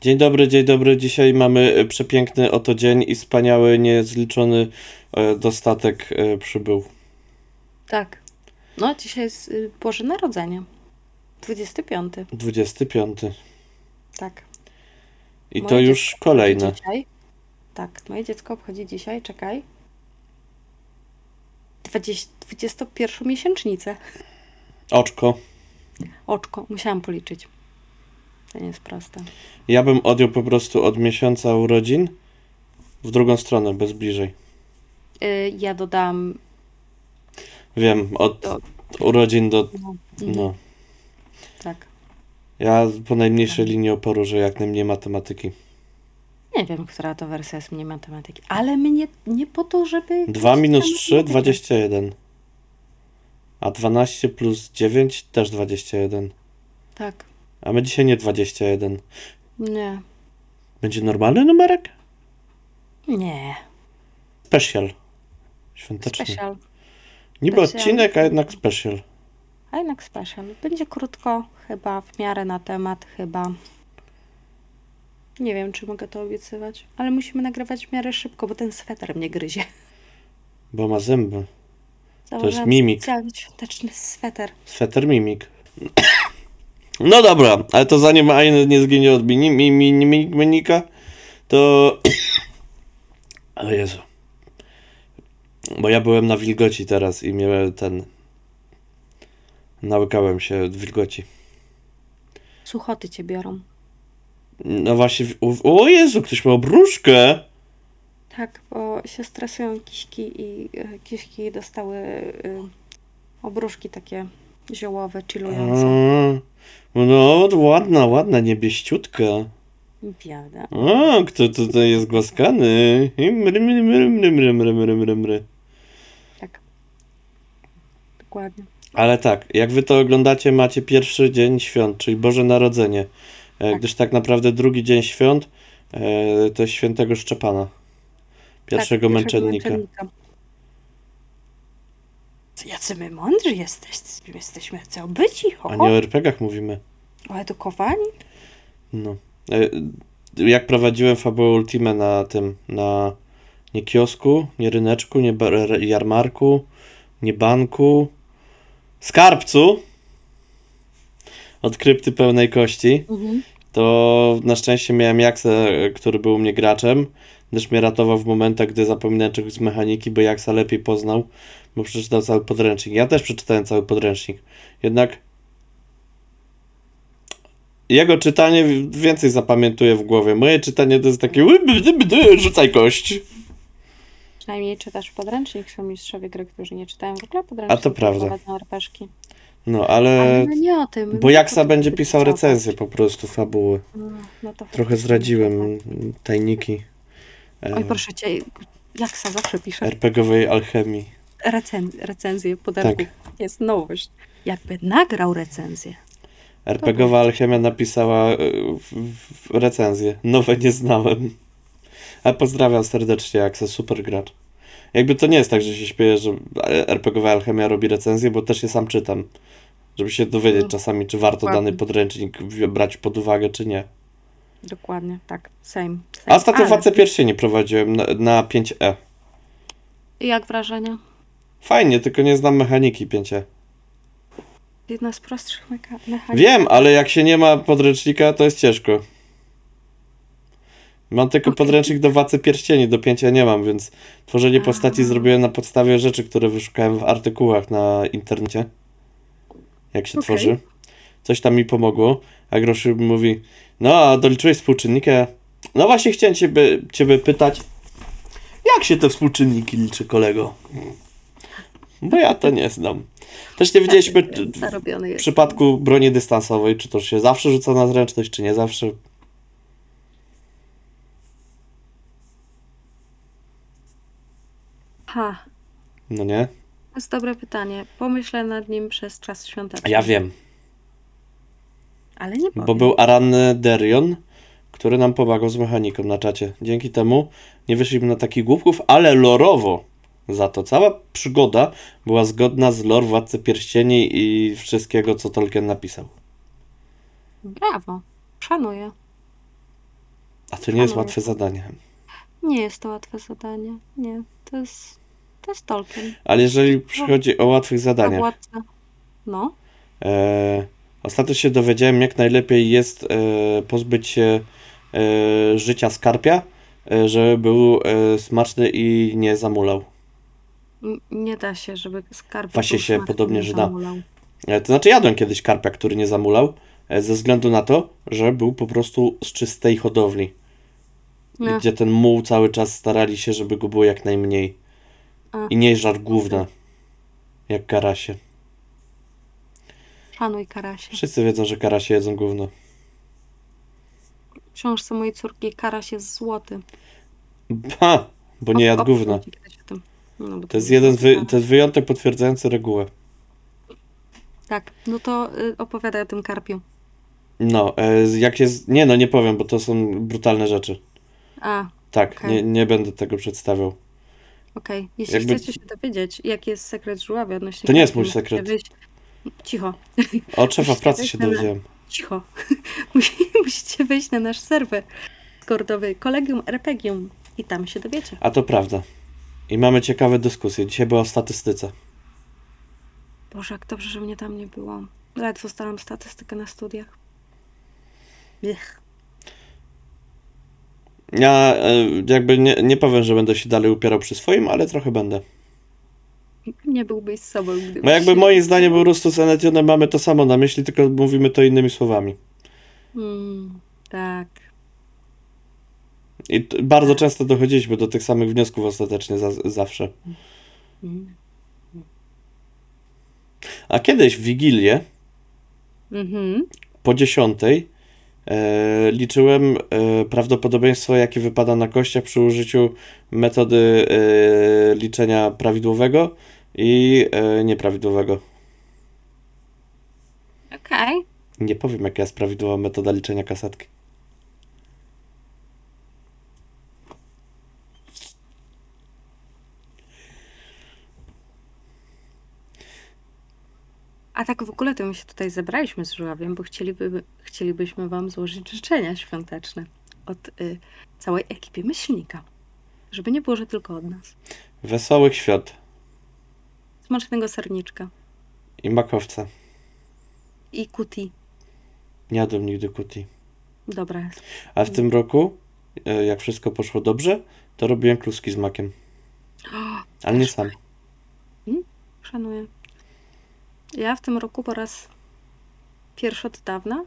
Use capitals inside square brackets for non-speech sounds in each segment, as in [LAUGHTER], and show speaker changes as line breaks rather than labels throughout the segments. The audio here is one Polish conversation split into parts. Dzień dobry, dzień dobry. Dzisiaj mamy e, przepiękny oto dzień i wspaniały, niezliczony e, dostatek e, przybył.
Tak. No, dzisiaj jest y, Boże Narodzenie. 25.
25.
Tak.
I
Moje
to
dziecko
już kolejne.
Dzisiaj. Tak, moje dziecko obchodzi dzisiaj, czekaj. 20, 21 miesięcznicę.
Oczko.
Oczko, musiałam policzyć. To nie jest proste.
Ja bym odjął po prostu od miesiąca urodzin w drugą stronę, bez bliżej.
Y, ja dodam.
Wiem, od
To-
urodzin do.
No, mhm,
No.
Tak.
Ja po najmniejszej linii oporu, że jak najmniej matematyki.
Nie wiem, która to wersja jest mniej matematyki, ale mnie nie po to, żeby.
2 minus 3,
matematyki.
21. A 12 plus 9 też 21.
Tak.
A my dzisiaj nie 21.
Nie.
Będzie normalny numerek?
Nie.
Special. Świąteczny.
Special.
Niby
Special.
odcinek, a jednak special.
A jednak special. Będzie krótko, chyba, w miarę na temat, chyba. Nie wiem, czy mogę to obiecywać, ale musimy nagrywać w miarę szybko, bo ten sweter mnie gryzie.
Bo ma zęby.
Założyłam
mimik.
Specjalny świąteczny sweter.
Sweter mimik. [COUGHS] No dobra, ale to zanim Ain nie zginie od mini, mi, mi, mi, minika, to... [COUGHS] O Jezu. Bo ja byłem na wilgoci teraz i mnie ten... Nałykałem się od wilgoci.
Suchoty cię biorą.
No właśnie... w- U, o Jezu, ktoś ma obruszkę!
Tak, bo się stresują kiśki i e, kiśki dostały y, obruszki takie ziołowe, chillujące.
A, No, ładna, ładna, niebieściutka.
Biada.
O, kto tutaj jest głaskany? I Mry, mry, mry, mry, mry, mry, mry, mry, mry.
Tak. Dokładnie.
Ale tak, jak wy to oglądacie, macie pierwszy dzień świąt, czyli Boże Narodzenie. E,
Tak.
Gdyż tak naprawdę drugi dzień świąt e, to jest świętego Szczepana. Tak, Pierwszego
tak,
męczennika.
Jacy my mądrzy jesteś, jesteśmy co byci, ho,
A
ho.
nie o RPGach mówimy.
O edukowani?
No. E, Jak prowadziłem fabułę Ultime na tym, na nie kiosku, nie ryneczku, nie ba- re- jarmarku, nie banku, skarbcu od krypty pełnej kości,
Mhm.
to na szczęście miałem Jaksa, e, który był u mnie graczem, gdyż mnie ratował w momentach, gdy zapominałem czegoś z mechaniki, bo Jaksa lepiej poznał, bo przeczytał cały podręcznik. Ja też przeczytałem cały podręcznik, jednak jego czytanie w- więcej zapamiętuję w głowie. Moje czytanie to jest takie "Łyby, dyby, dy, rzucaj kość.
Przynajmniej czytasz podręcznik, są mistrzowie gry, którzy nie czytają w ogóle
A
podręcznika.
to prawda.
prowadzą RPG.
No
Ale
ale...
nie o tym.
Bo
nie o
Jaksa
tym
będzie
chcę
pisał
dyskutować.
recenzję po prostu, fabuły.
Mm, No to no
Trochę zdradziłem tajniki e,
tak. Oj, proszę cię, Jaksa zawsze pisze
RPGowej alchemii.
recen- recenzję
Tak.
podarków. Jest nowość. Jakby nagrał recenzję.
RPGowa Alchemia napisała e, w, w recenzję. Nowe nie znałem. A pozdrawiam serdecznie Aksa, super gracz. Jakby to nie jest tak, że się śpieję, że e, RPGowa Alchemia robi recenzję, bo też je sam czytam. Żeby się dowiedzieć
No,
czasami, czy warto
dokładnie.
dany podręcznik w- brać pod uwagę, czy nie.
Dokładnie, tak. Same.
A
same.
ostatnio
Ale
facet pierwszy nie prowadziłem na, na E. 5E.
Jak wrażenie?
Fajnie, tylko nie znam mechaniki E. 5E.
Jedna z prostszych meka- mechanik.
Wiem, ale jak się nie ma podręcznika, to jest ciężko. Mam tylko
Okej.
podręcznik do wacy pierścieni, do pięcia nie mam, więc tworzenie
A.
postaci zrobiłem na podstawie rzeczy, które wyszukałem w artykułach na internecie. Jak się
Okej.
tworzy. Coś tam mi pomogło, a Groszy mówi, no a doliczyłeś współczynnika? No właśnie chciałem ciebie, ciebie pytać, jak się te współczynniki liczy, kolego? Bo ja to nie znam. Też nie wiedzieliśmy, czy-
Tak, Zarobiony
w
jest.
przypadku broni dystansowej, czy to się zawsze rzuca na zręczność, czy nie zawsze?
Ha,
No nie?
to jest dobre pytanie. Pomyślę nad nim przez czas świąteczny.
Ja wiem,
Ale nie powiem.
bo był Aran Derion, który nam pomagał z mechaniką na czacie. Dzięki temu nie wyszliśmy na takich głupków, ale lorowo za to. Cała przygoda była zgodna z lore Władcy Pierścieni i wszystkiego, co Tolkien napisał.
Brawo. Szanuję.
A to nie jest
Szanowni.
łatwe zadanie.
Nie jest to łatwe zadanie. Nie, to jest, to jest Tolkien.
Ale jeżeli przychodzi o łatwych zadaniach,
Władca. No,
E, ostatnio się dowiedziałem, jak najlepiej jest e, pozbyć się e, życia skarpia, e, żeby był e, smaczny i nie zamulał.
n- nie da się, żeby skarb
Właśnie
był
się
smaczny,
podobnie,
nie
że da.
zamulał.
E, to znaczy, jadłem kiedyś karpia, który nie zamulał, e, ze względu na to, że był po prostu z czystej hodowli,
No,
gdzie ten muł cały czas starali się, żeby go było jak najmniej.
A.
I nie żar główna, jak karasie.
szanuj Karasie.
Wszyscy wiedzą, że karasie jedzą gówno.
W książce mojej córki Karas jest złoty.
Ha! Bo nie
Op-
jadł
opchnął
gówna.
ci ktoś o tym. No, bo
To jest jeden z wy, to jest wyjątek potwierdzający regułę.
Tak, no to y, opowiadaj o tym karpiu.
No, e, z- jak jest. Nie, no nie powiem, bo to są brutalne rzeczy.
A,
Tak,
Okej.
nie, nie będę tego przedstawiał.
Okej, jeśli
Jakby-
chcecie się dowiedzieć, jaki jest sekret żóławia odnośnie...
To nie jest
karpi,
mój
musicie
sekret.
Wyjść... Cicho,
Od szefa w pracy się
Dobra.
dowiedziałem.
cicho. [LAUGHS] Musi- Musicie wyjść na nasz serwer Discordowy Kolegium Erpegium i tam się dowiecie.
A to prawda. I mamy ciekawe dyskusje. Dzisiaj była o statystyce.
Boże, jak dobrze, że mnie tam nie było. Ledwo staram statystykę na studiach. Blech.
Ja e, jakby nie, nie powiem, że będę się dalej upierał przy swoim, ale trochę będę.
Nie byłbyś z sobą, gdybyś...
No jakby
się-
moim zdaniem po prostu z E Enetionem mamy to samo na myśli, tylko mówimy to innymi słowami.
Mm, tak.
I t- bardzo często dochodziliśmy do tych samych wniosków ostatecznie za, zawsze.
Mm.
A kiedyś w Wigilię
Mhm.
po dziesiątej e, liczyłem e, prawdopodobieństwo, jakie wypada na kościach przy użyciu metody e, liczenia prawidłowego i e, nieprawidłowego.
Okej.
Nie powiem, jaka jest prawidłowa metoda liczenia kasetki.
A tak w ogóle to my się tutaj zebraliśmy z Żuławiem, bo chcieliby, chcielibyśmy Wam złożyć życzenia świąteczne od y, całej ekipy myślnika. Żeby nie było, że tylko od nas.
Wesołych świąt
Smacznego serniczka
i makowca.
i kuti.
Nie jadłem nigdy kuti.
Dobra jest.
A w tym roku, e, jak wszystko poszło dobrze, to robiłem kluski z makiem. Ale nie sam.
Szanuję. Ja w tym roku po raz pierwszy od dawna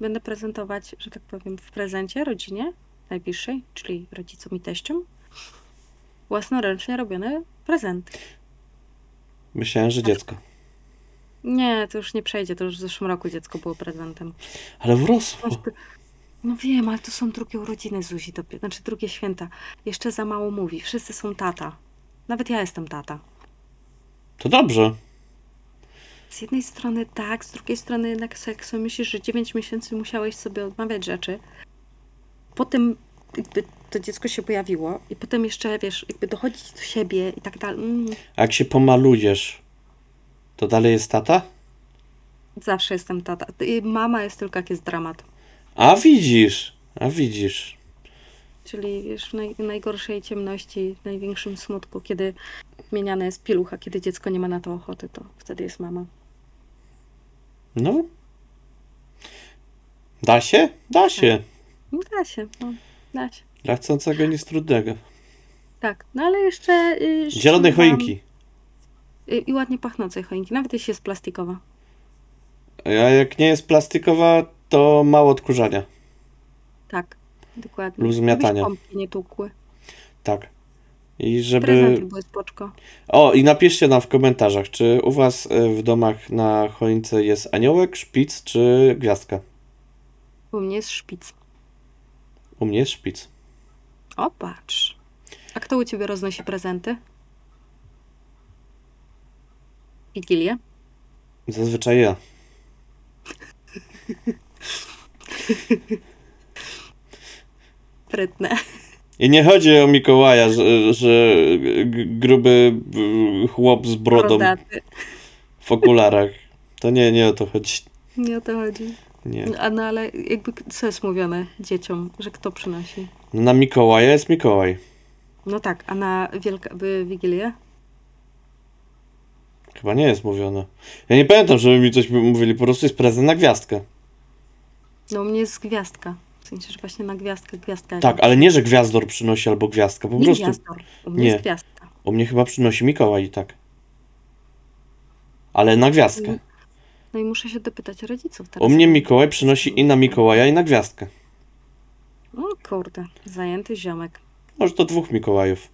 będę prezentować, że tak powiem, w prezencie rodzinie najbliższej, czyli rodzicom i teściom, własnoręcznie robione prezenty.
Myślałem, że dziecko.
Nie, to już nie przejdzie, to już w zeszłym roku dziecko było prezentem.
Ale wrosło.
Proste. No wiem, ale to są drugie urodziny Zuzi, dopiero, znaczy drugie święta. Jeszcze za mało mówi, wszyscy są tata. Nawet ja jestem tata.
To dobrze.
Z jednej strony tak, z drugiej strony jednak sobie- jak sobie myślisz, że 9 miesięcy musiałeś sobie odmawiać rzeczy. Potem jakby to dziecko się pojawiło i potem jeszcze, wiesz, jakby dochodzić do siebie i tak dalej. Mm,
A jak się pomalujesz, to dalej jest tata?
zawsze jestem tata. I Mama jest tylko jak jest dramat.
A widzisz, a widzisz.
Czyli wiesz, w naj, najgorszej ciemności, w największym smutku, kiedy zmieniana jest pielucha, kiedy dziecko nie ma na to ochoty, to wtedy jest mama.
No. Da się? Da się.
No, Da się, no, da się.
Dla chcącego nic trudnego.
Tak, no ale jeszcze... y,
Zielone
ściągam-
choinki.
Y, I ładnie pachnącej choinki, nawet jeśli jest plastikowa.
A jak nie jest plastikowa, to mało odkurzania.
Tak, dokładnie.
Lub zmiatania.
Żebyś pompki nie tłukły.
Tak. I
Prezent
żeby...
albo jest poczko.
O, i napiszcie nam w komentarzach, czy u was e, w domach na choince jest aniołek, szpic czy gwiazdka.
U mnie jest szpic.
U mnie jest szpic.
O, patrz. A kto u ciebie roznosi prezenty? Wigilię?
Zazwyczaj ja.
Prytne.
I nie chodzi o Mikołaja, że, że g- gruby b- chłop z brodą
Brodaty.
w okularach. To nie, nie o to chodzi.
Nie o to chodzi.
Nie.
A no ale jakby co jest mówione dzieciom, że kto przynosi?
No, na Mikołaja jest Mikołaj.
No tak, a na wielka, by Wigilię?
Chyba nie jest mówione. Ja nie pamiętam, żeby mi coś mówili, po prostu jest prezent na gwiazdkę.
No u mnie jest gwiazdka. W sensie, że właśnie na gwiazdkę gwiazdka.
Tak, ale nie, że gwiazdor przynosi albo gwiazdka, po
nie
prostu.
gwiazdor. U mnie
nie.
jest gwiazdka.
U mnie chyba przynosi Mikołaj i tak. Ale na gwiazdkę.
No i muszę się dopytać rodziców teraz.
U mnie Mikołaj przynosi i na Mikołaja, i na gwiazdkę.
O No kurde, zajęty ziomek.
Może to dwóch Mikołajów.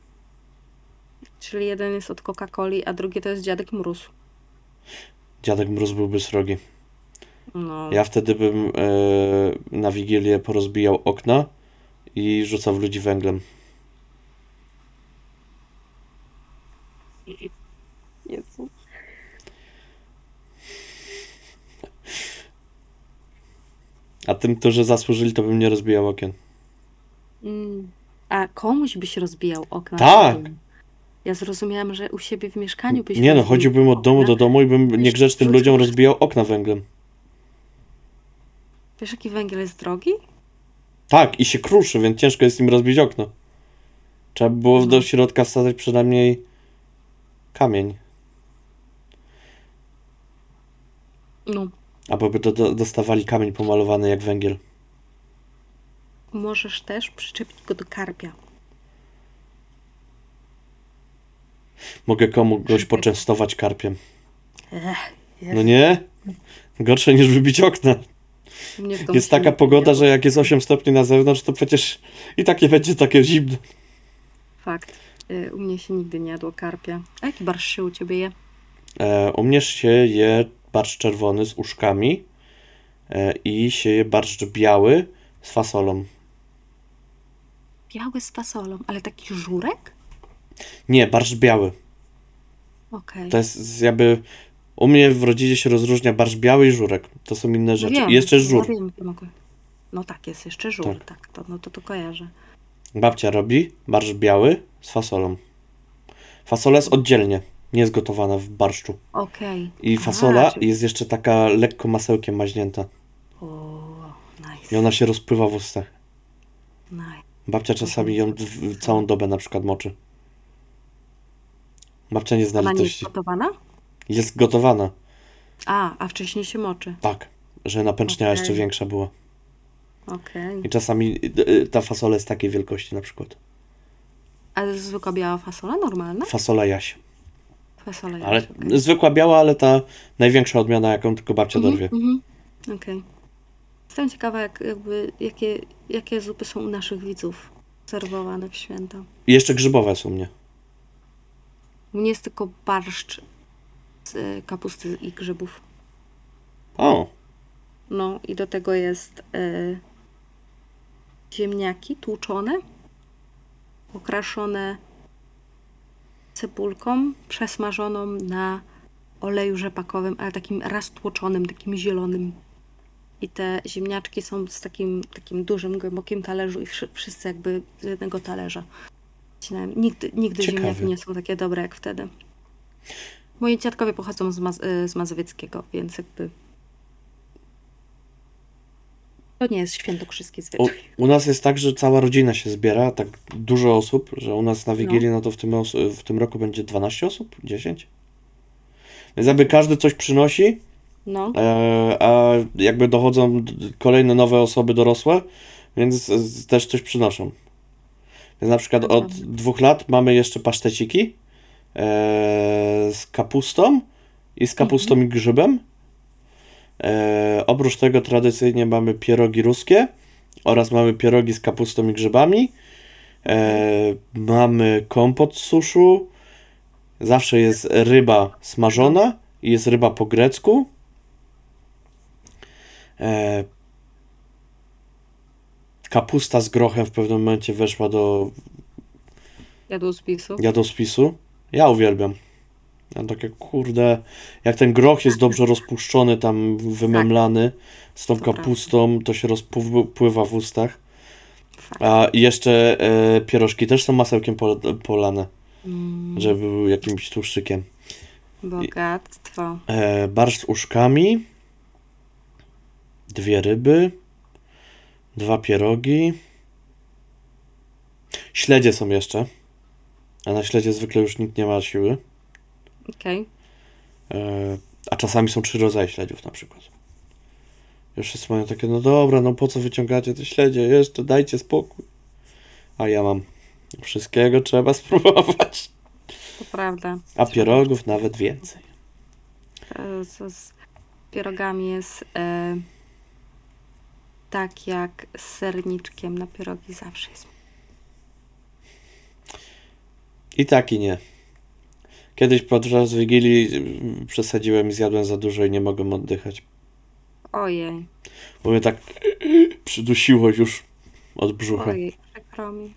Czyli jeden jest od Coca-Coli, a drugi to jest dziadek Mróz.
Dziadek Mróz byłby srogi.
No,
Ja wtedy bym e, na Wigilię porozbijał okna i rzucał w ludzi węglem.
Jezu.
A tym, którzy zasłużyli, to bym nie rozbijał okien.
Mm. A komuś byś rozbijał okna.
Tak.
Ja zrozumiałam, że u siebie w mieszkaniu byś
Nie no,
rozbił
chodziłbym od domu
okna.
do domu i bym niegrzecznym
rzucił-
ludziom rozbijał okna węglem.
Wiesz, jaki węgiel jest drogi?
Tak, i się kruszy, więc ciężko jest im rozbić okno. Trzeba by było
No.
do środka wsadzać przynajmniej kamień.
No,
Albo by do, do, dostawali kamień pomalowany jak węgiel.
możesz też przyczepić go do karpia.
Mogę komuś poczęstować karpiem.
Ech,
No nie? Gorsze niż wybić okna.
Mnie w domu
Jest
się
taka
nie
pogoda,
podziało.
że jak jest 8 stopni na zewnątrz, to przecież i takie będzie takie zimno.
Fakt. Y, U mnie się nigdy nie jadło karpia. A jaki barsz się u ciebie je?
E, u mnie się je barszcz czerwony z uszkami e, i się je barszcz biały z fasolą.
Biały z fasolą, ale taki żurek?
Nie, barszcz biały.
Okej.
To jest z- jakby... U mnie w rodzinie się rozróżnia barszcz biały i żurek. To są inne rzeczy.
wiem,
I jeszcze
no
żur.
wiem, to mogę- No tak, jest jeszcze żur, tak. to, no to to kojarzę.
Babcia robi barszcz biały z fasolą. Fasola jest oddzielnie, nie jest gotowana w barszczu.
Okej.
I
A,
fasola
czyli-
jest jeszcze taka lekko masełkiem maźnięta.
O, nice.
I ona się rozpływa w ustach.
nice.
Babcia czasami ją w, całą dobę na przykład moczy. Babcia nie zna
Ona nie jest
litości.
gotowana?
Jest gotowana.
A, a wcześniej się moczy.
Tak, że napęcznia
Okej.
jeszcze większa była.
Okej.
I czasami y, y, ta fasola jest takiej wielkości na przykład.
A to jest zwykła biała fasola, normalna?
Fasola jaś.
Fasola jest,
Ale
okej.
zwykła biała, ale ta największa odmiana, jaką tylko babcia dorwie.
Mhm, mhm. Okej. Jestem ciekawa, jak, jakby, jakie, jakie zupy są u naszych widzów serwowane w święta.
I jeszcze grzybowe są u mnie.
U mnie jest tylko barszcz z y, kapusty i grzybów.
O,
No i do tego jest y, ziemniaki tłuczone, okraszone cebulką przesmażoną na oleju rzepakowym, ale takim roztłoczonym, takim zielonym. I te ziemniaczki są z takim, takim dużym, głębokim talerzu i wszy- wszyscy jakby z jednego talerza. Ścinałem. Nigdy, nigdy
Ciekawe.
ziemniaki nie są takie dobre jak wtedy. Moi dziadkowie pochodzą z, Maz- y, z Mazowieckiego, więc jakby to nie jest
u,
świętokrzyskie zwyczaj.
u nas jest tak, że cała rodzina się zbiera, tak dużo osób, że u nas na Wigilię, no to w tym, os- w tym roku będzie 12 osób, 10. Więc jakby każdy coś przynosi,
No,
e, a jakby dochodzą d- d- kolejne nowe osoby dorosłe, więc z- też coś przynoszą. Więc na przykład od dwóch lat mamy jeszcze paszteciki e, z kapustą i z kapustą i grzybem. E, oprócz tego tradycyjnie mamy pierogi ruskie oraz mamy pierogi z kapustą i grzybami. E, mamy kompot z suszu. Zawsze jest ryba smażona i jest ryba po grecku. E, kapusta z grochem w pewnym momencie weszła do
jadłospisu.
jadłospisu. Ja uwielbiam. Ja takie kurde, jak ten groch jest dobrze rozpuszczony, tam wymemlany z tą
To prawda.
kapustą, to się rozpływa w ustach.
Fakt.
A i jeszcze e, pierożki też są masełkiem pol, polane,
Mm,
żeby był jakimś tłuszczykiem.
bogactwo.
E, barsz z uszkami. dwie ryby, dwa pierogi. Śledzie są jeszcze. A na śledzie zwykle już nikt nie ma siły.
Okej.
E, A czasami są trzy rodzaje śledziów na przykład. Już wszyscy mają takie, no dobra, no po co wyciągacie te śledzie jeszcze, dajcie spokój. A ja mam. Wszystkiego trzeba [LAUGHS] spróbować.
To prawda.
A pierogów nawet więcej.
E, Co z pierogami jest e, tak jak z serniczkiem na pierogi zawsze jest.
I tak i nie. Kiedyś podczas Wigilii mm, przesadziłem i zjadłem za dużo i nie mogłem oddychać.
Ojej,
Bo mnie tak [LAUGHS] przydusiło już od brzucha.
ojej, przykro mi.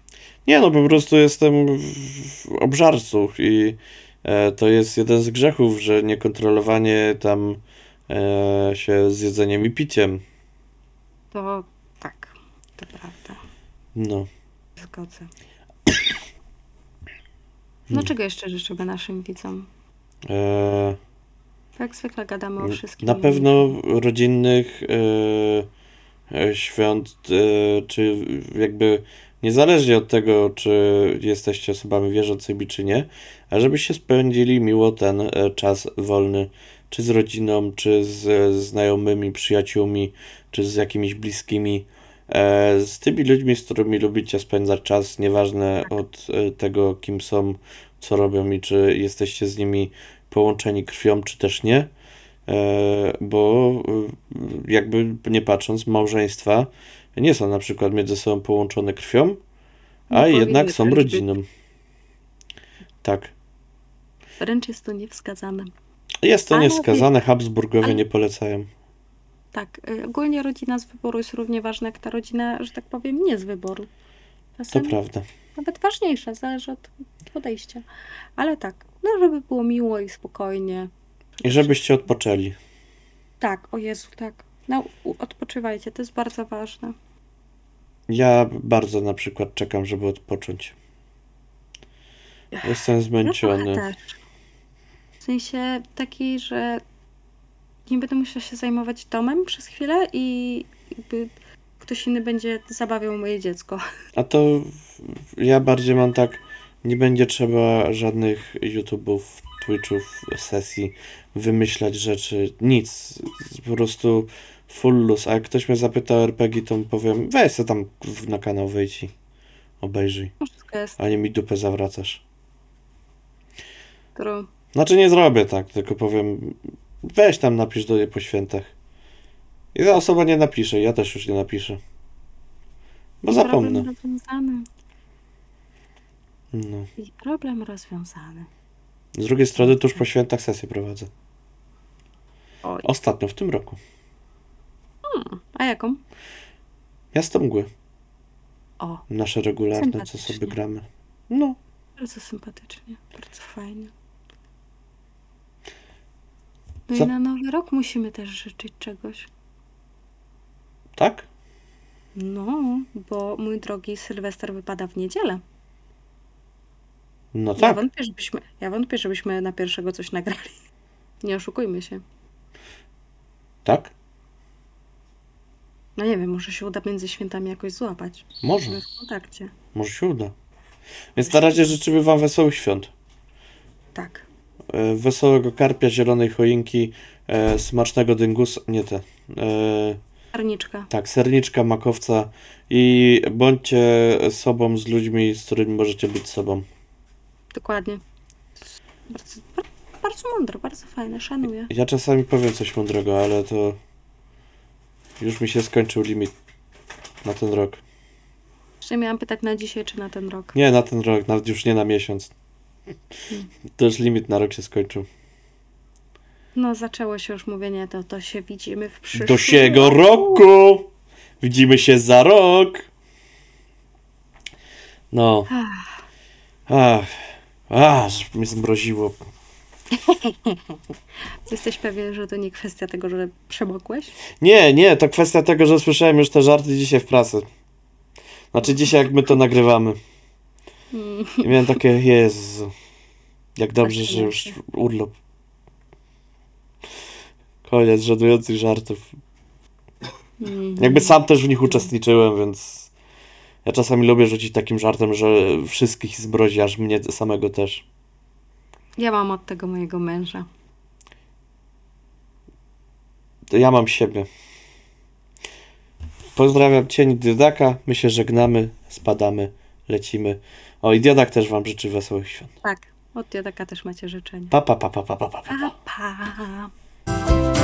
Nie no, po prostu jestem w- w obżarcu i e, to jest jeden z grzechów, że niekontrolowanie tam e, się z jedzeniem i piciem.
To tak, to prawda.
No.
Zgodzę. No czego jeszcze życzymy naszym widzom?
E,
Bo Jak zwykle gadamy o wszystkim.
Mm, Na pewno rodzinnych e, e, świąt, e, czy jakby niezależnie od tego, czy jesteście osobami wierzącymi, czy nie, a żebyście spędzili miło ten e, czas wolny, czy z rodziną, czy z znajomymi, przyjaciółmi, czy z jakimiś bliskimi, e, z tymi ludźmi, z którymi lubicie spędzać czas, nieważne od e, tego, kim są, co robią i czy jesteście z nimi połączeni krwią, czy też nie. E, bo y, jakby nie patrząc, małżeństwa nie są na przykład między sobą połączone krwią,
Nie
a
powinny
jednak są
tak być.
rodziną. Tak.
Wręcz jest to niewskazane.
Jest to
Ale-
nieskazane, Habsburgowie
ale-
nie polecają.
Tak, y, ogólnie rodzina z wyboru jest równie ważna jak ta rodzina, że tak powiem, nie z wyboru.
To
Czasem
prawda.
nawet ważniejsza, zależy od podejścia. Ale tak, no żeby było miło i spokojnie.
I żebyście odpoczęli.
Tak, o Jezu, tak. No, u- odpoczywajcie, to jest bardzo ważne. No,
Ja bardzo na przykład czekam, żeby odpocząć. Jestem
No
zmęczony.
trochę też. W sensie taki, że nie będę musiała się zajmować domem przez chwilę i jakby ktoś inny będzie zabawiał moje dziecko.
A to ja bardziej mam tak, nie będzie trzeba żadnych YouTube'ów, Twitch'ów, sesji, wymyślać rzeczy, nic. Po prostu full luz. A jak ktoś mnie zapyta o RPG, to mu powiem, weź se tam w- na kanał wejdź i obejrzyj,
No, Wszystko jest
a nie mi dupę zawracasz.
true.
Znaczy nie zrobię tak, tylko powiem, weź tam napisz do niej po świętach. I ta osoba nie napisze, ja też już nie napiszę. Bo
I
No zapomnę.
Problem rozwiązany.
No.
I problem rozwiązany.
Z drugiej strony tuż po świętach sesję prowadzę.
Oj. Hmm,
Ostatnio w tym roku.
A jaką?
Miasto Mgły.
O,
Nasze regularne, co
Sympatycznie.
sobie gramy. No,
bardzo sympatycznie, bardzo fajnie. No
Co?
i na nowy rok musimy też życzyć czegoś.
tak?
No, bo mój drogi Sylwester wypada w niedzielę.
No
Ja
tak.
wątpię, żebyśmy, ja wątpię, żebyśmy na pierwszego coś nagrali. [LAUGHS] Nie oszukujmy się.
Tak?
No nie wiem, może się uda między świętami jakoś złapać.
Może.
Żeby w kontakcie.
Może się uda. Więc na razie życzymy Wam wesołych świąt.
Tak.
E, wesołego karpia, zielonej choinki, e, smacznego dyngus, nie te. E,
Karniczka.
tak, serniczka, makowca i bądźcie sobą z ludźmi, z którymi możecie być sobą.
Dokładnie. Bardzo, bar, bardzo mądre, bardzo fajne, szanuję.
Ja czasami powiem coś mądrego, ale to już mi się skończył limit na ten rok.
Jeszcze miałam pytać na dzisiaj czy na ten rok.
Nie na ten rok, nawet już nie na miesiąc. To już limit na rok się skończył.
No, zaczęło się już mówienie, to, to się widzimy w przyszłym
Do siego roku! Widzimy się za rok! No. Ach, aż mnie zmroziło.
Jesteś pewien, że to nie kwestia tego, że przemokłeś?
[LAUGHS] Nie, nie, to kwestia tego, że słyszałem już te żarty dzisiaj w prasy. Znaczy dzisiaj jak my to nagrywamy.
Mm.
I miałem takie, Jezu, jak dobrze, że już urlop. Koniec żenujących żartów.
Mm.
Jakby sam też w nich uczestniczyłem, więc ja czasami lubię rzucić takim żartem, że wszystkich zbrodzi, aż mnie samego też.
Ja mam od tego mojego męża.
To ja mam siebie. Pozdrawiam Cień Diodaka, my się żegnamy, spadamy, lecimy. O i Diodak też Wam życzy wesołych świąt.
Tak, od Jadaka też macie życzenia.
Pa, pa, pa, pa, pa, pa, pa, pa.
Pa, pa.